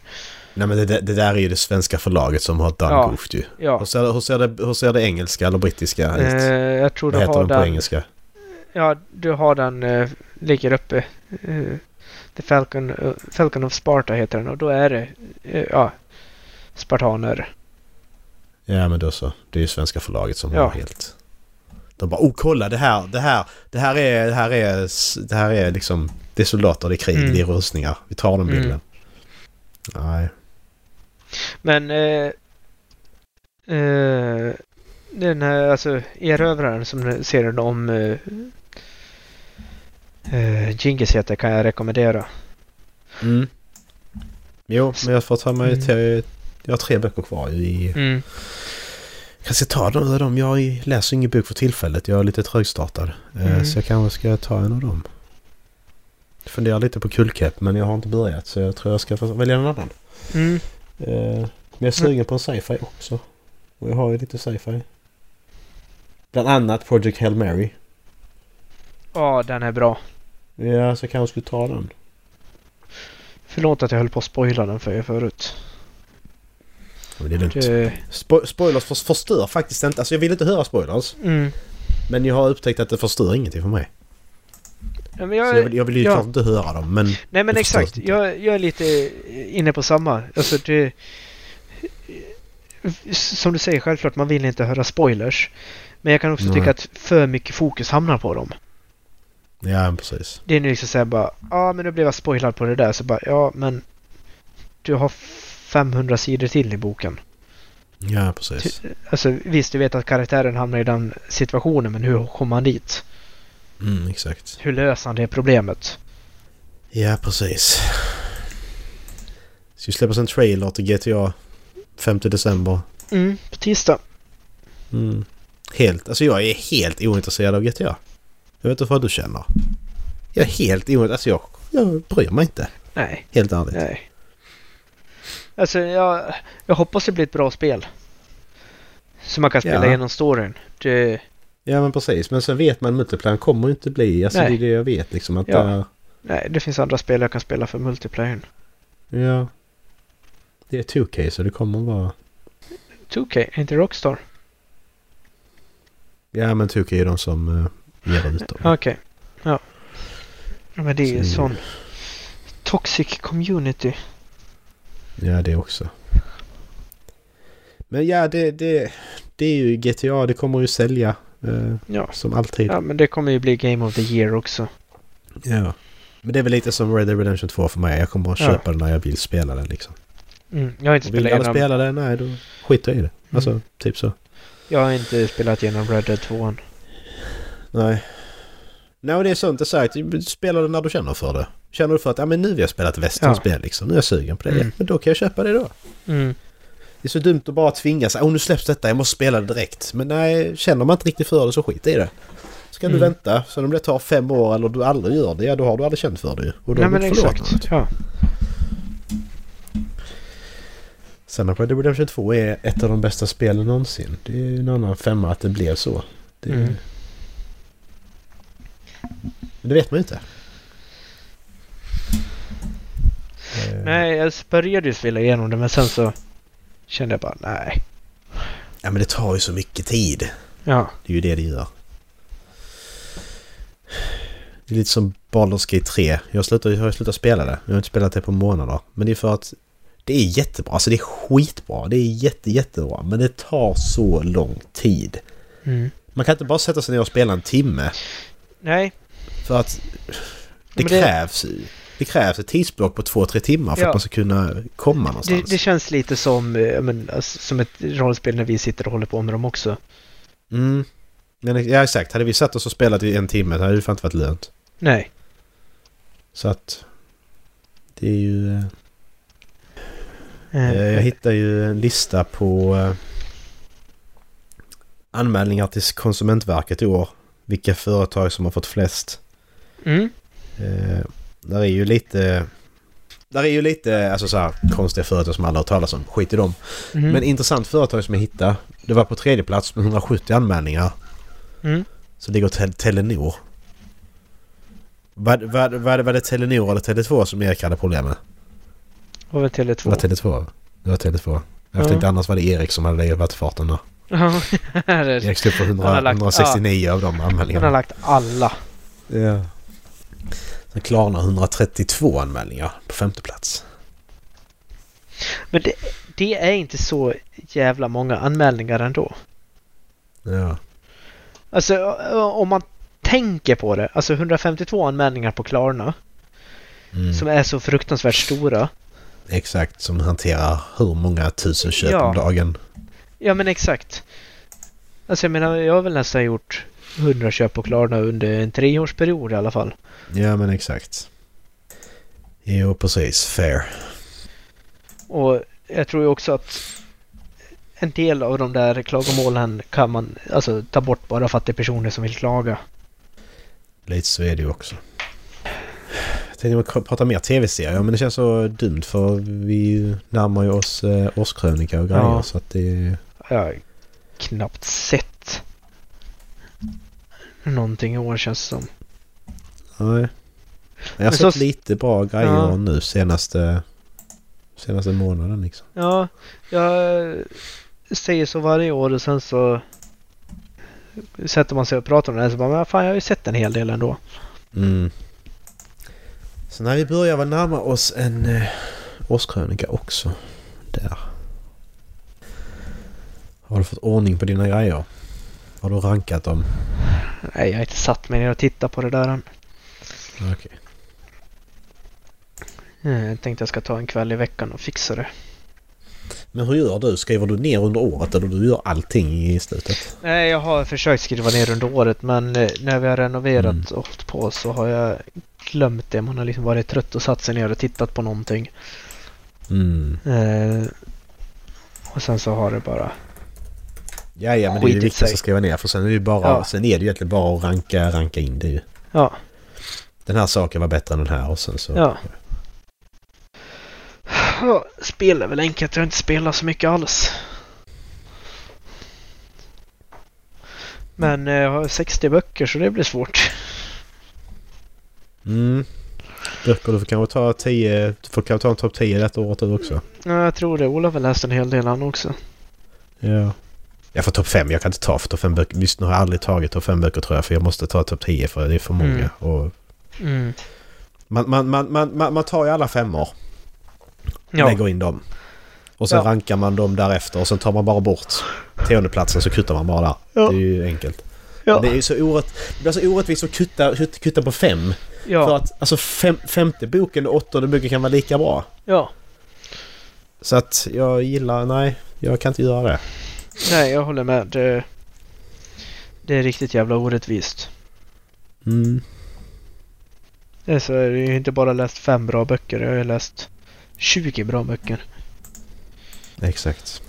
B: Nej men det, det det där är ju det svenska förlaget som har done
A: Ja.
B: goofed ju.
A: Ja.
B: Hur ser, hur, ser det, hur ser det engelska eller brittiska ut?
A: Eh, jag tror
B: Vad
A: du
B: heter
A: har
B: de på
A: den...
B: engelska?
A: Ja, du har den... eh, ligger uppe. eh, The Falcon, eh, Falcon of Sparta heter den och då är det... eh, ja. Spartaner.
B: Ja men då så. Det är ju svenska förlaget som
A: Ja.
B: har helt... De bara oh kolla det här, det här, det här är, det här är, s- det här är liksom... Det är soldater, det är krig,
A: Mm.
B: det är rustningar. Vi tar den
A: Mm.
B: bilden. Nej.
A: Men... Eh, eh, den här, alltså erövraren som serien om... Eh, eh, Genghis heter kan jag rekommendera.
B: Mm. Jo, men jag får ta mig
A: Mm.
B: till... Jag har tre böcker kvar ju i... kanske ta några av dem. Jag läser ingen bok för tillfället. Jag är lite trögstartad. Eh,
A: Mm.
B: Så jag kanske ska ta en av dem. Jag funderar lite på Kullkepp men jag har inte börjat så jag tror jag ska få välja en annan.
A: Mm.
B: Eh, Men jag är sugen på en sci-fi också. Och jag har ju lite sci-fi. Bland annat Project Hail Mary.
A: Ja, den är bra.
B: Ja, så jag kanske skulle ta den.
A: Förlåt att jag höll på att spoila den för er förut. Eh,
B: Men det är lugnt.
A: Det,
B: Spo- spoilers för- förstör faktiskt inte. Alltså jag vill inte höra spoilers.
A: mm.
B: Men jag har upptäckt att det förstör ingenting för mig.
A: Ja, men
B: Så jag vill, jag vill ju
A: ja.
B: klart inte höra dem men...
A: Nej men
B: Jag förstår
A: exakt.
B: inte.
A: Jag, jag är lite eh, inne på samma. Alltså det... Som du säger, självklart man vill inte höra spoilers. Men jag kan också
B: Nej.
A: tycka att för mycket fokus hamnar på dem.
B: Ja, precis.
A: Det är nu liksom såhär bara, ja men nu blev jag spoilad på det där. Så bara, ja men... Du har 500 sidor till i boken.
B: Ja, precis.
A: Alltså visst, du vet att karaktären hamnar i den situationen, men hur kom han dit?
B: Mm, exakt.
A: Hur löser han det problemet?
B: Ja, precis. Det ska ju släppas en trailer till GTA 5 december.
A: Mm, på tisdag.
B: Mm. Helt, alltså jag är helt ointresserad av GTA. Jag vet inte vad du känner. Jag är helt ointresserad, alltså jag, jag bryr mig inte.
A: Nej,
B: Helt ärligt.
A: nej. Alltså jag, jag hoppas det blir ett bra spel. Så man kan spela
B: Ja.
A: igenom storyn. Det,
B: Ja men precis. Men sen vet man multiplayern kommer ju inte bli. Alltså
A: Nej.
B: det är det jag vet liksom. Att
A: Ja.
B: där,
A: Nej, det finns andra spel jag kan spela för multiplayern.
B: ja. Det är 2K så det kommer vara...
A: 2K, inte Rockstar?
B: Ja men 2K är de som uh, ger ut dem.
A: Okej. Ja. Ja, Men det är ju en
B: Så-
A: sån toxic community.
B: Ja, det också. Men ja, det, det, det är ju GTA. Det kommer ju sälja. eh,
A: Ja.
B: som alltid.
A: Ja, men det kommer ju bli Game of the Year också.
B: Ja. Men det är väl lite som Red Dead Redemption 2 för mig. Jag kommer bara
A: Ja.
B: köpa den när jag vill spela den liksom.
A: Mm. Jag har inte
B: Och vill
A: spelat
B: alla
A: igenom...
B: spela den? Nej, då skiter jag i det. Alltså,
A: Mm.
B: typ så.
A: Jag har inte spelat igenom Red Dead 2 än.
B: Nej. Nej, och det är sånt jag sagt. Spela det när du känner för det. Känner du för att ja, men nu vill jag spela ett västernspel liksom. Nu är jag sugen på det.
A: Mm.
B: Men då kan jag köpa det då.
A: Mm.
B: Det är så dumt att bara tvinga sig. Åh, nu släpps detta. Jag måste spela det direkt. Men nej, känner man inte riktigt för det så skit i det. Så kan du
A: Mm.
B: vänta. Så om det tar fem år eller du aldrig gör det, ja då har du aldrig känt för det ju. Och då
A: Nej,
B: har du
A: men
B: inte förlorat något.
A: exakt. Ja.
B: Sen att Red Dead Redemption 2 är ett av de bästa spelen någonsin. Det är ju en annan femma att det blev så. Det,
A: Mm.
B: Men det vet man ju inte. Eh,
A: Nej, jag började ju spela igenom det men sen så kände jag bara nej.
B: Ja men det tar ju så mycket tid.
A: Ja.
B: Det är ju det det gör. Det är lite som Baldur's Gate 3. Jag, slutar, jag har ju slutat spela det. Jag har inte spelat det på månader. Men det är för att det är jättebra. Alltså det är skitbra. Det är jätte, jättebra. Men det tar så lång tid.
A: Mm.
B: Man kan inte bara sätta sig ner och spela en timme.
A: Nej,
B: För att det,
A: men det-
B: krävs, det krävs ett tidsblock på två, tre timmar för
A: Ja.
B: att man ska kunna komma
A: det,
B: någonstans.
A: det känns lite som, eh, ja, men, alltså, som ett rollspel när vi sitter och håller på med dem också.
B: Mm. Men, ja, exakt. Hade vi satt oss och spelat i en timme så hade det fan inte varit lönt.
A: Nej.
B: Så att... Det är ju... eh,
A: Eh,
B: Eh, Jag hittar ju en lista på eh, anmälningar till Konsumentverket i år. Vilka företag som har fått flest.
A: mm.
B: Eh, Där är ju lite... Där är ju lite alltså så här, konstiga företag som alla har talas om. Skit i dem.
A: Mm.
B: Men intressant företag som jag hittade. Det var på tredje plats med 170 anmälningar.
A: mm.
B: Så ligger tel- Telenor. Var, var, var, var det Telenor eller Tele2 som Erik hade problem med?
A: Och väl
B: Det var
A: Tele2.
B: Tele2. Det var Tele2. Jag
A: Oh. Ja.
B: tänkte annars var det Erik som hade legat i farten där.
A: Ja, det är det.
B: Erik stod på 100,
A: Han har lagt-
B: 169 av de
A: Han har
B: anmälningarna.
A: lagt alla.
B: Ja. Sen Klarna 132 anmälningar på femte plats.
A: Men det, det är inte så jävla många anmälningar ändå.
B: Ja.
A: Alltså ö- ö- om man tänker på det. Alltså 152 anmälningar på Klarna
B: Mm.
A: som är så fruktansvärt stora.
B: Exakt, som hanterar hur många tusen köp
A: Ja.
B: om dagen.
A: Ja men exakt. Alltså jag menar, jag har väl nästan gjort 100 köp på Klarna under en treårsperiod i alla fall.
B: Ja, men exakt. Jo, precis. Fair.
A: Och jag tror ju också att en del av de där klagomålen kan man alltså ta bort bara för att det är personer som vill klaga.
B: Lite så är det ju också. Jag tänkte prata mer tv-serier men det känns så dumt för vi närmar ju oss eh, årskrönika och grejer
A: Ja.
B: så att det...
A: Jag har knappt sett någonting i år känns det som.
B: Nej. Jag har
A: Men så-
B: sett lite bra grejer
A: Ja.
B: nu senaste, senaste månaden liksom.
A: Ja, jag säger så varje år och sen så sätter man sig och pratar om det här så bara, men fan jag har ju sett en hel del ändå.
B: Mm. Så när vi börjar väl närma oss en eh, årskrönika också. Där. Har du fått ordning på dina grejer? Har du rankat dem?
A: Nej, jag har inte satt mig ner och tittat på det där än.
B: Okej.
A: Eh, Jag tänkte jag ska ta en kväll i veckan och fixa det.
B: Men hur gör du? Skriver du ner under året eller du gör allting i slutet?
A: Nej, jag har försökt skriva ner under året men eh, när vi har renoverat
B: Mm.
A: och hållit på så har jag glömt det. Man har liksom varit trött och satt sig ner och tittat på någonting.
B: Mm.
A: Eh, och sen så har det bara...
B: Ja, ja, men det är ju
A: Skitigt
B: viktigt
A: sig.
B: att skriva ner för sen är det ju bara,
A: Ja.
B: sen är det ju egentligen bara att ranka, ranka in det ju.
A: Ja,
B: Den här saken var bättre än den här och sen så...
A: ja. Ja, Spel är väl enkelt. Jag har inte spelat så mycket alls. Men eh, jag har 60 böcker så det blir svårt.
B: Mm. Böcker, du får kanske ta 10... Du får kanske ta en topp 10 detta året du också.
A: Ja, jag tror det. Ola har väl läst en hel del han också.
B: Ja. Jag får topp 5. Jag kan inte ta för topp 5 böcker. Visst, nu har jag aldrig tagit topp 5 böcker tror jag. För jag måste ta topp 10 för det är för många.
A: Mm.
B: Och
A: Mm.
B: man, man, man, man, man, man tar ju alla femmor.
A: Ja,
B: Lägger in dem. Och sen
A: Ja.
B: rankar man dem därefter och sen tar man bara bort tiondeplatsen så kuttar man bara där.
A: Ja.
B: Det är ju enkelt.
A: ja,
B: Det är ju så orätt, det blir så orättvist att kutta, kut- kutta på fem. För
A: ja,
B: att alltså fem, femte boken och åttonde boken kan vara lika bra.
A: ja.
B: Så att jag gillar... Nej, jag kan inte göra det.
A: Nej, jag håller med. Det, det är riktigt jävla orättvist.
B: Mm.
A: Det är så, jag har ju inte bara läst fem bra böcker, jag har ju läst 20 bra böcker.
B: Exakt.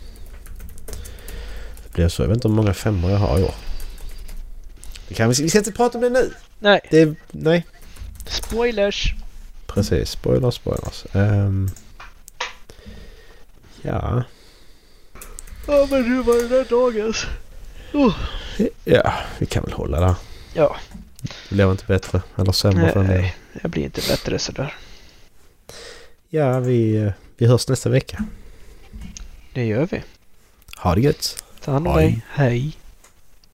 B: Det blev så. Jag vet inte hur många femmor jag har i år. Det kan vi, vi ska inte prata om det nu!
A: Nej,
B: Det är, nej,
A: spoilers!
B: precis. Spoilers, spoilers. Ehm. ja.
A: Ja men hur var den där dagens?
B: Ja, vi kan väl hålla där.
A: Ja.
B: Det blev inte bättre eller sämre för mig.
A: Nej, jag blir inte bättre sådär.
B: Ja, vi, eh, vi hörs nästa vecka.
A: Det gör vi.
B: Ha det gött!
A: Ta hand om
B: Hej.
A: dig. Hej.